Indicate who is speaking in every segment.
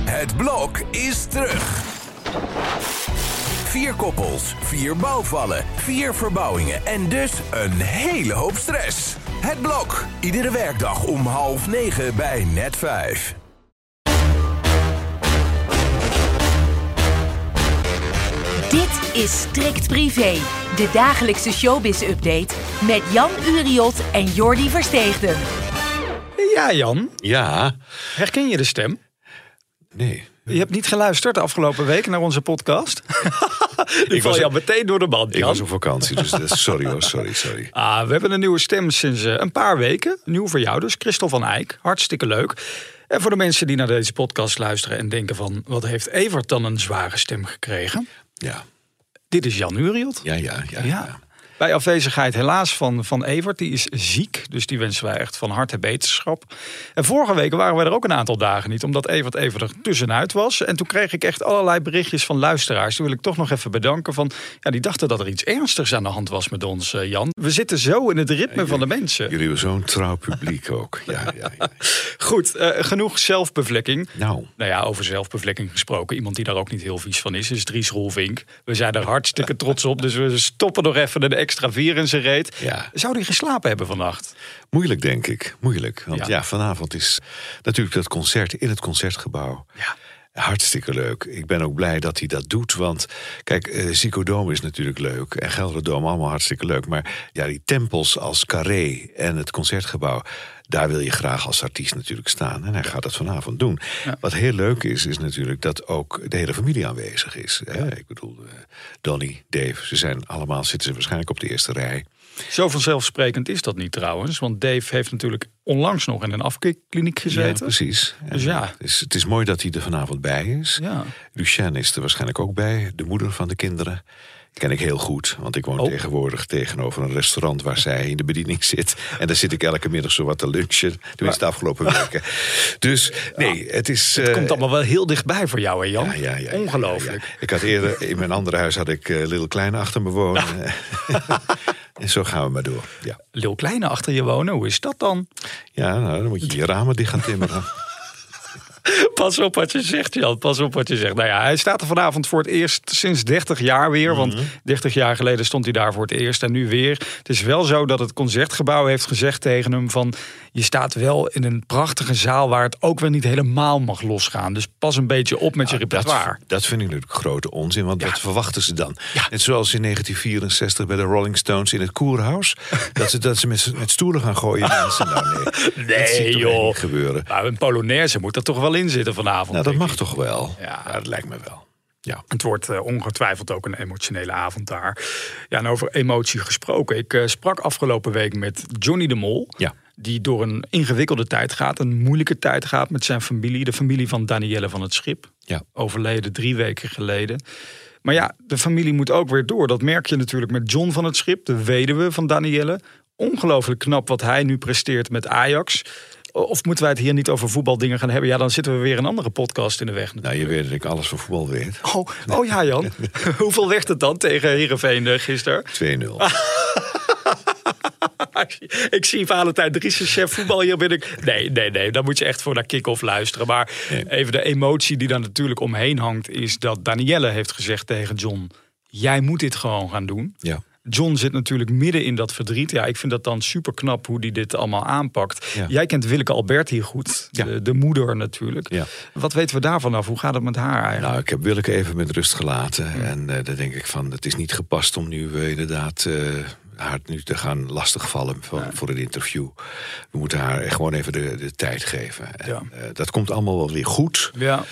Speaker 1: Het blok is terug. Vier koppels, vier bouwvallen, vier verbouwingen en dus een hele hoop stress. Het blok, iedere werkdag om half negen bij net vijf.
Speaker 2: Dit is Strikt Privé, de dagelijkse showbiz-update met Jan Uriot en Jordi Versteegden.
Speaker 3: Ja, Jan.
Speaker 4: Ja,
Speaker 3: Herken je de stem?
Speaker 4: nee.
Speaker 3: Je hebt niet geluisterd de afgelopen week naar onze podcast. Die val
Speaker 4: was-
Speaker 3: je al meteen door de band,
Speaker 4: Ik was op
Speaker 3: Jan.
Speaker 4: vakantie, dus dat- sorry hoor, sorry, sorry.
Speaker 3: Ah, we hebben een nieuwe stem sinds eh, een paar weken. Nieuw voor jou dus, Christel van Eijk. Hartstikke leuk. En voor de mensen die naar deze podcast luisteren en denken van... wat heeft Evert dan een zware stem gekregen?
Speaker 4: Ja,
Speaker 3: Dit is Jan Uriot.
Speaker 4: ja, ja, ja.
Speaker 3: Ja.
Speaker 4: ja.
Speaker 3: Bij afwezigheid helaas van, van Evert, die is ziek. Dus die wensen wij echt van harte beterschap. En vorige week waren wij er ook een aantal dagen niet, omdat Evert even er tussenuit was. En toen kreeg ik echt allerlei berichtjes van luisteraars. Die wil ik toch nog even bedanken. Van, ja, die dachten dat er iets ernstigs aan de hand was met ons, eh, Jan. We zitten zo in het ritme van de mensen.
Speaker 4: Jullie hebben zo'n trouw publiek ook. Ja, ja, ja.
Speaker 3: Goed, eh, genoeg zelfbevlekking.
Speaker 4: Nou,
Speaker 3: Nou ja, over zelfbevlekking gesproken. Iemand die daar ook niet heel vies van is, is Dries Roelvink. We zijn er hartstikke trots op, dus we stoppen nog even een extra vier in zijn reet.
Speaker 4: Ja.
Speaker 3: Zou die geslapen hebben vannacht?
Speaker 4: moeilijk denk ik, moeilijk. Want
Speaker 3: Ja.
Speaker 4: ja. vanavond is natuurlijk dat concert in het Concertgebouw.
Speaker 3: Ja.
Speaker 4: Hartstikke leuk. Ik ben ook blij dat hij dat doet. Want kijk, eh Zico Dome is natuurlijk leuk. En Gelderdoom allemaal hartstikke leuk. Maar ja, die tempels als Carré en het Concertgebouw... daar wil je graag als artiest natuurlijk staan. En hij gaat dat vanavond doen. Wat heel leuk is, is natuurlijk dat ook de hele familie aanwezig is. hè. Ik bedoel, eh, Donny, Dave, ze zijn allemaal... zitten ze waarschijnlijk op de eerste rij.
Speaker 3: Zo vanzelfsprekend is dat niet trouwens, want Dave heeft natuurlijk onlangs nog in een afkikkliniek
Speaker 4: Ja,
Speaker 3: gezeten.
Speaker 4: precies. En
Speaker 3: Dus ja.
Speaker 4: Het is, het is mooi dat hij er vanavond bij is.
Speaker 3: Ja.
Speaker 4: Lucien is er waarschijnlijk ook bij, de moeder van de kinderen. Ken ik heel goed, want ik woon
Speaker 3: Oh.
Speaker 4: tegenwoordig tegenover een restaurant waar zij in de bediening zit. En daar zit ik elke middag zo wat te lunchen, tenminste de afgelopen weken. Dus nee, het is.
Speaker 3: Ah, Het
Speaker 4: eh,
Speaker 3: komt allemaal wel heel dichtbij voor jou, hè Jan?
Speaker 4: ja, ja, ja, ja,
Speaker 3: Ongelooflijk.
Speaker 4: ja, ja. Ik had eerder, in mijn andere huis had ik eh Lil Klein achter me wonen.
Speaker 3: Nou.
Speaker 4: en zo gaan we maar door. Ja,
Speaker 3: Lil Kleine achter je wonen, hoe is dat dan?
Speaker 4: ja nou, dan moet je je ramen dicht gaan timmeren.
Speaker 3: Pas op wat je zegt, Jan. Pas op wat je zegt. Nou ja, hij staat er vanavond voor het eerst sinds 30 jaar weer.
Speaker 4: Mhm.
Speaker 3: Want 30 jaar geleden stond hij daar voor het eerst en nu weer. Het is wel zo dat het concertgebouw heeft gezegd tegen hem van... je staat wel in een prachtige zaal waar het ook weer niet helemaal mag losgaan. Dus pas een beetje op met je repertoire.
Speaker 4: Dat, dat vind ik natuurlijk grote onzin, want wat verwachten ze dan?
Speaker 3: Ja.
Speaker 4: Net zoals in 1964 bij de Rolling Stones in het Koerhuis. dat ze, dat ze met, met stoelen gaan gooien. Mensen, nou nee, dat ziet toch
Speaker 3: joh.
Speaker 4: niet gebeuren.
Speaker 3: Maar Nou, een Polonaise moet er toch wel in zitten vanavond.
Speaker 4: Nou, dat
Speaker 3: denk
Speaker 4: mag
Speaker 3: ik.
Speaker 4: toch wel?
Speaker 3: Ja.
Speaker 4: dat lijkt me wel. Ja.
Speaker 3: Het wordt eh, ongetwijfeld ook een emotionele avond daar. Ja, en over emotie gesproken. Ik eh, sprak afgelopen week met Johnny de Mol.
Speaker 4: Ja.
Speaker 3: Die door een ingewikkelde tijd gaat, een moeilijke tijd gaat met zijn familie. De familie van Danielle van het Schip.
Speaker 4: Ja.
Speaker 3: Overleden drie weken geleden. Maar ja, de familie moet ook weer door. Dat merk je natuurlijk met John van het Schip, de weduwe van Danielle. Ongelooflijk knap wat hij nu presteert met Ajax. Of moeten wij het hier niet over voetbaldingen gaan hebben? Ja, dan zitten we weer een andere podcast in de weg.
Speaker 4: Nou, je weet dat ik alles van voetbal weet.
Speaker 3: Oh, oh ja, Jan. Hoeveel werd het dan tegen Heerenveen eh, gisteren?
Speaker 4: 2-0.
Speaker 3: ik zie Valentijn Driessen, chef voetbal hier binnen. Nee, nee, nee. Daar moet je echt voor naar kick-off luisteren. Maar
Speaker 4: Nee.
Speaker 3: even de emotie die daar natuurlijk omheen hangt... is dat Danielle heeft gezegd tegen John... jij moet dit gewoon gaan doen.
Speaker 4: Ja.
Speaker 3: John zit natuurlijk midden in dat verdriet. Ja, ik vind dat dan super knap hoe die dit allemaal aanpakt.
Speaker 4: Ja.
Speaker 3: Jij kent Willeke Alberti goed.
Speaker 4: Ja.
Speaker 3: De, de moeder natuurlijk.
Speaker 4: Ja.
Speaker 3: Wat weten we daarvan af? Hoe gaat het met haar eigenlijk?
Speaker 4: Nou, ik heb Willeke even met rust gelaten.
Speaker 3: Hmm.
Speaker 4: En eh, dan denk ik van, het is niet gepast om nu eh, inderdaad eh, haar nu te gaan lastigvallen voor, voor een interview. We moeten haar gewoon even de, de tijd geven. En,
Speaker 3: Ja.
Speaker 4: eh, dat komt allemaal wel weer goed,
Speaker 3: ja.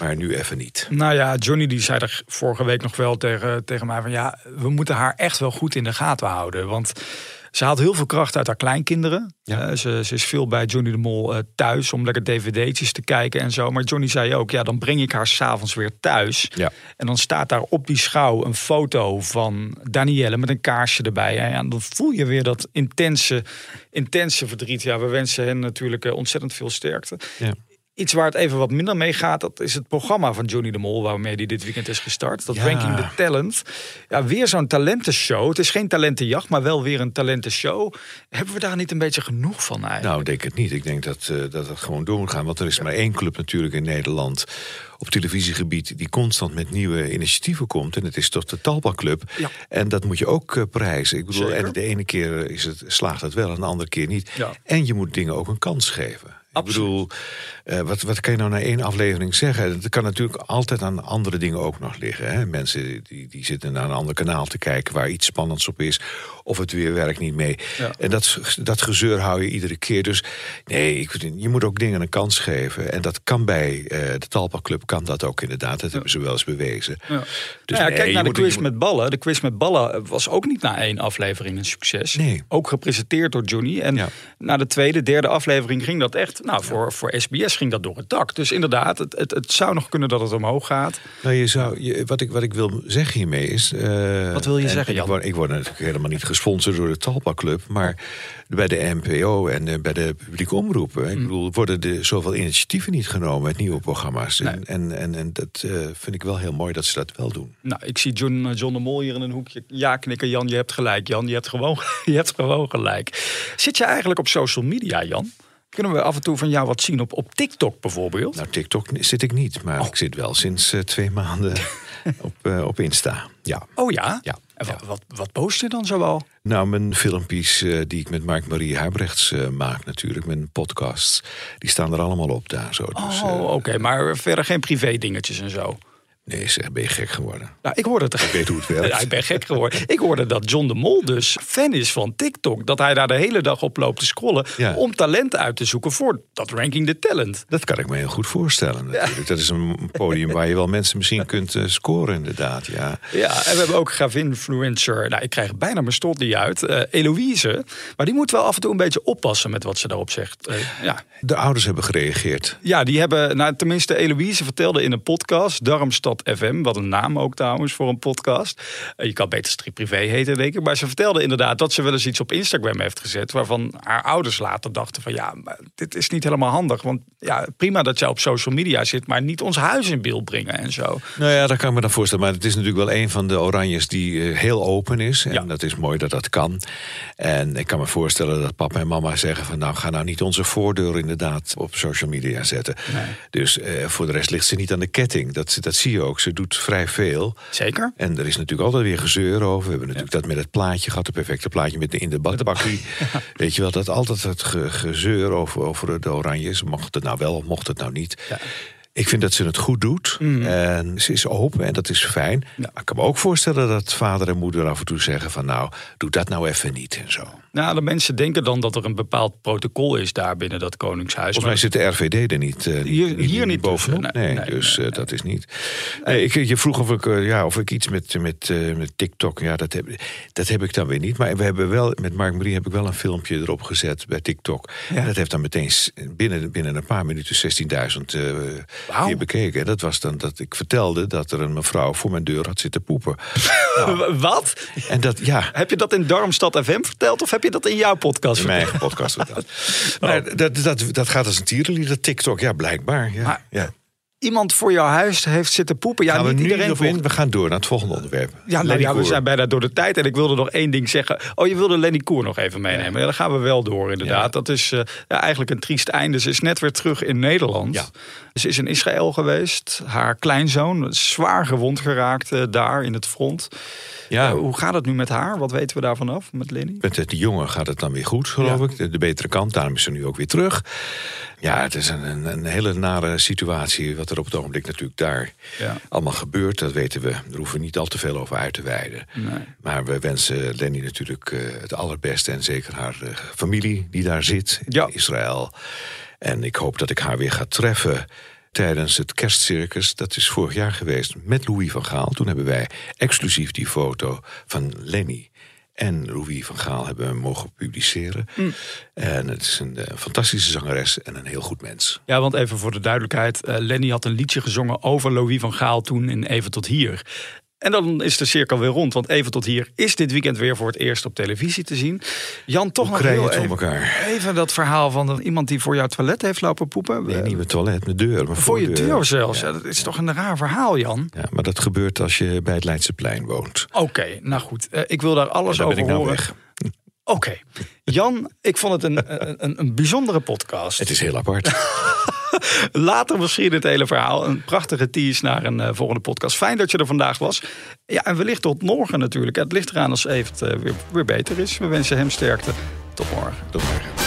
Speaker 4: maar nu even niet.
Speaker 3: Nou ja, Johnny die zei er vorige week nog wel tegen, tegen mij van ja, we moeten haar echt wel goed in de gaten houden. Want ze haalt heel veel kracht uit haar kleinkinderen.
Speaker 4: Ja.
Speaker 3: Eh, ze, ze is veel bij Johnny de Mol eh, thuis om lekker dvd'tjes te kijken en zo. Maar Johnny zei ook, ja, dan breng ik haar s'avonds weer thuis.
Speaker 4: Ja.
Speaker 3: En dan staat daar op die schouw een foto van Danielle met een kaarsje erbij. En ja, dan voel je weer dat intense, intense verdriet. Ja, we wensen hen natuurlijk eh, ontzettend veel sterkte.
Speaker 4: Ja.
Speaker 3: Iets waar het even wat minder mee gaat, dat is het programma van Johnny de Mol, waarmee hij dit weekend is gestart. Dat
Speaker 4: Ja.
Speaker 3: Ranking the Talent. Ja, weer zo'n talentenshow. Het is geen talentenjacht, maar wel weer een talentenshow. Hebben we daar niet een beetje genoeg van eigenlijk?
Speaker 4: Nou, ik denk het niet. Ik denk dat, eh, dat het gewoon door moet gaan. Want er is maar één club natuurlijk in Nederland op televisiegebied die constant met nieuwe initiatieven komt. En dat is toch de Talpa Club.
Speaker 3: Ja.
Speaker 4: En dat moet je ook eh, prijzen. Ik bedoel,
Speaker 3: Zeker.
Speaker 4: en de ene keer eh, is het, slaagt het wel en de andere keer niet.
Speaker 3: Ja.
Speaker 4: En je moet dingen ook een kans geven.
Speaker 3: Absoluut.
Speaker 4: Ik bedoel, eh, wat, wat kan je nou na één aflevering zeggen? Dat kan natuurlijk altijd aan andere dingen ook nog liggen. Hè? Mensen die, die zitten naar een ander kanaal te kijken waar iets spannends op is. Of het weer werkt niet mee.
Speaker 3: Ja.
Speaker 4: En dat, dat gezeur hou je iedere keer. Dus nee, ik, vind- je moet ook dingen een kans geven. En dat kan bij eh, de Talpa Club, kan dat ook inderdaad. Dat hebben ze wel eens bewezen.
Speaker 3: Ja.
Speaker 4: Dus
Speaker 3: Nou ja,
Speaker 4: nee,
Speaker 3: kijk
Speaker 4: je
Speaker 3: naar de
Speaker 4: moet- je
Speaker 3: quiz
Speaker 4: moet-
Speaker 3: met ballen. De quiz met ballen eh, was ook niet na één aflevering een succes.
Speaker 4: Nee.
Speaker 3: Ook gepresenteerd door Johnny. En
Speaker 4: Ja.
Speaker 3: na de tweede, derde aflevering ging dat echt... Nou, voor, voor SBS ging dat door het dak. Dus inderdaad, het, het, het zou nog kunnen dat het omhoog gaat.
Speaker 4: Nou, je zou, je- wat, ik, wat ik wil zeggen hiermee is... eh,
Speaker 3: Wat wil je
Speaker 4: en
Speaker 3: zeggen, Jan?
Speaker 4: Ik word, ik word natuurlijk helemaal niet gesponsord door de Talpa Club... maar bij de NPO en eh, bij de publieke omroepen...
Speaker 3: Mm.
Speaker 4: Ik bedoel, worden er zoveel initiatieven niet genomen met nieuwe programma's. En, en, en, en dat eh, vind ik wel heel mooi dat ze dat wel doen.
Speaker 3: Nou, ik zie John, eh, John de Mol hier in een hoekje. Ja, knikken, Jan, je hebt gelijk. Jan, je hebt gewoon, je hebt gewoon gelijk. Zit je eigenlijk op social media, Jan? Kunnen we af en toe van jou wat zien op, op TikTok bijvoorbeeld?
Speaker 4: Nou, TikTok zit ik niet, maar
Speaker 3: Oh.
Speaker 4: ik zit wel sinds eh, twee maanden op, eh, op Insta. Ja.
Speaker 3: Oh ja?
Speaker 4: Ja,
Speaker 3: En wa-
Speaker 4: ja.
Speaker 3: Wat, wat post je dan zoal?
Speaker 4: Nou, mijn filmpjes eh, die ik met Mark-Marie Huibrechts eh, maak natuurlijk, mijn podcasts... die staan er allemaal op daar zo. Dus, eh,
Speaker 3: Oh, oké, maar verder geen privé dingetjes en zo.
Speaker 4: Nee, zeg, ben je gek geworden.
Speaker 3: Nou, ik hoorde het. Ik
Speaker 4: weet hoe het werkt.
Speaker 3: ik ben gek geworden. Ik hoorde dat John de Mol dus fan is van TikTok. Dat hij daar de hele dag op loopt te scrollen.
Speaker 4: Ja.
Speaker 3: om talent uit te zoeken voor dat ranking de talent.
Speaker 4: Dat kan ik me heel goed voorstellen natuurlijk. Dat is een podium waar je wel mensen misschien kunt eh, scoren inderdaad, ja.
Speaker 3: Ja, en we hebben ook gravinfluencer. Nou, ik krijg bijna mijn strot niet uit. eh, Eloïse. Maar die moet wel af en toe een beetje oppassen met wat ze daarop zegt. Eh, ja.
Speaker 4: De ouders hebben gereageerd.
Speaker 3: Ja, die hebben, nou, tenminste, Eloïse vertelde in een podcast, Darmstad FM, wat een naam ook trouwens voor een podcast. Eh, Je kan beter strip privé heten, denk ik. Maar ze vertelde inderdaad dat ze wel eens iets op Instagram heeft gezet, waarvan haar ouders later dachten van, ja, maar dit is niet helemaal handig. Want ja, prima dat jij op social media zit, maar niet ons huis in beeld brengen en zo.
Speaker 4: Nou ja, dat kan ik me dan voorstellen. Maar het is natuurlijk wel een van de oranjes die eh, heel open is. En
Speaker 3: Ja.
Speaker 4: dat is mooi dat dat kan. En ik kan me voorstellen dat papa en mama zeggen van... nou, ga nou niet onze voordeur inderdaad op social media zetten. Dus eh, voor de rest ligt ze niet aan de ketting. Dat, dat zie je ook. Ze doet vrij veel.
Speaker 3: Zeker?
Speaker 4: En er is natuurlijk altijd weer gezeur over. We hebben natuurlijk dat met het plaatje gehad, het perfecte plaatje met de in de badbakkie. Weet je wel, dat altijd het ge- gezeur over, over de oranjes. Mocht het nou wel of mocht het nou niet. Ik vind dat ze het goed doet. En ze is open en dat is fijn. Maar Ik kan me ook voorstellen dat vader en moeder af en toe zeggen van... nou, doe dat nou even niet en zo. Volgens
Speaker 3: Nou, de mensen denken dan dat er een bepaald protocol is daar binnen dat koningshuis.
Speaker 4: mij zit de RVD er niet, eh, niet-
Speaker 3: Hier-
Speaker 4: niet,
Speaker 3: hier
Speaker 4: niet
Speaker 3: niet
Speaker 4: bovenop.
Speaker 3: tussen. Nee,
Speaker 4: Nee,
Speaker 3: nee,
Speaker 4: dus
Speaker 3: nee,
Speaker 4: eh, dat is niet. Nee, ik, je vroeg of ik, eh, ja, of ik iets met, met, eh, met TikTok... Ja, dat heb, dat heb ik dan weer niet. Maar we hebben wel, met Mark Marie heb ik wel een filmpje erop gezet bij TikTok. En dat heeft dan meteen s- binnen, binnen een paar minuten 16.000 eh
Speaker 3: Wauw.
Speaker 4: keer bekeken. En dat was dan dat ik vertelde dat er een mevrouw voor mijn deur had zitten poepen.
Speaker 3: Wat?
Speaker 4: En dat, ja...
Speaker 3: Heb je dat in Darmstad FM verteld of heb je dat in jouw podcast
Speaker 4: In mijn eigen podcast verteld.
Speaker 3: Oh.
Speaker 4: Maar dat, dat, dat gaat als een tierenlied, dat TikTok. Ja, blijkbaar. Ja,
Speaker 3: Maar-
Speaker 4: ja.
Speaker 3: iemand voor jouw huis heeft zitten poepen. Ja,
Speaker 4: Gaan we
Speaker 3: niet
Speaker 4: nu
Speaker 3: iedereen
Speaker 4: nog in?
Speaker 3: volgt.
Speaker 4: We gaan door naar het volgende onderwerp.
Speaker 3: Ja, nou
Speaker 4: Lenny
Speaker 3: ja, we
Speaker 4: Koer.
Speaker 3: zijn bijna door de tijd. En ik wilde nog één ding zeggen. Oh, je wilde Lenny Koer nog even meenemen. Ja, dan gaan we wel door, inderdaad.
Speaker 4: Ja.
Speaker 3: Dat is eh, ja, eigenlijk een triest einde. Ze is net weer terug in Nederland.
Speaker 4: Ja.
Speaker 3: Ze is in Israël geweest. Haar kleinzoon is zwaar gewond geraakt eh, daar in het front.
Speaker 4: Ja,
Speaker 3: Eh, hoe gaat het nu met haar? Wat weten we daarvan af met Lenny?
Speaker 4: met het jongen gaat het dan weer goed, geloof
Speaker 3: Ja.
Speaker 4: ik. De, de betere kant, daarom is ze nu ook weer terug. Ja, het is een, een, een hele nare situatie wat er op het ogenblik natuurlijk daar
Speaker 3: Ja.
Speaker 4: allemaal gebeurt. Dat weten we. Daar hoeven we niet al te veel over uit te wijden. Maar we wensen Lenny natuurlijk eh, het allerbeste en zeker haar eh, familie die daar zit in
Speaker 3: Ja.
Speaker 4: Israël. En ik hoop dat ik haar weer ga treffen tijdens het kerstcircus. Dat is vorig jaar geweest met Louis van Gaal. Toen hebben wij exclusief die foto van Lenny en Louis van Gaal hebben we mogen publiceren.
Speaker 3: Mm.
Speaker 4: En het is een eh, fantastische zangeres en een heel goed mens.
Speaker 3: Ja, want even voor de duidelijkheid. eh, Lenny had een liedje gezongen over Louis van Gaal toen in Even tot Hier. En dan is de cirkel weer rond. Want even tot hier is dit weekend weer voor het eerst op televisie te zien. Jan, toch
Speaker 4: Hoe
Speaker 3: nog
Speaker 4: krijg je
Speaker 3: Oh, heel
Speaker 4: het voor
Speaker 3: even,
Speaker 4: elkaar?
Speaker 3: even dat verhaal van dat iemand die voor jouw toilet heeft lopen poepen.
Speaker 4: Nee,
Speaker 3: Eh,
Speaker 4: niet mijn toilet, mijn deur. Mijn
Speaker 3: voor je
Speaker 4: voordeur.
Speaker 3: deur zelfs.
Speaker 4: Ja.
Speaker 3: Ja, dat is toch een raar verhaal, Jan?
Speaker 4: Ja, maar dat gebeurt als je bij het Leidseplein woont.
Speaker 3: Oké, nou goed. Eh, ik wil daar alles
Speaker 4: Ja, daar
Speaker 3: over
Speaker 4: ben ik nou
Speaker 3: horen.
Speaker 4: weg.
Speaker 3: Oké. Jan, ik vond het een, een- een, een bijzondere podcast.
Speaker 4: Het is heel apart.
Speaker 3: Later misschien het hele verhaal. Een prachtige tease naar een eh, volgende podcast. Fijn dat je er vandaag was. Ja, en wellicht tot morgen natuurlijk. Het ligt eraan als Evert eh, weer, weer beter is. We wensen hem sterkte. Tot morgen.
Speaker 4: Tot morgen.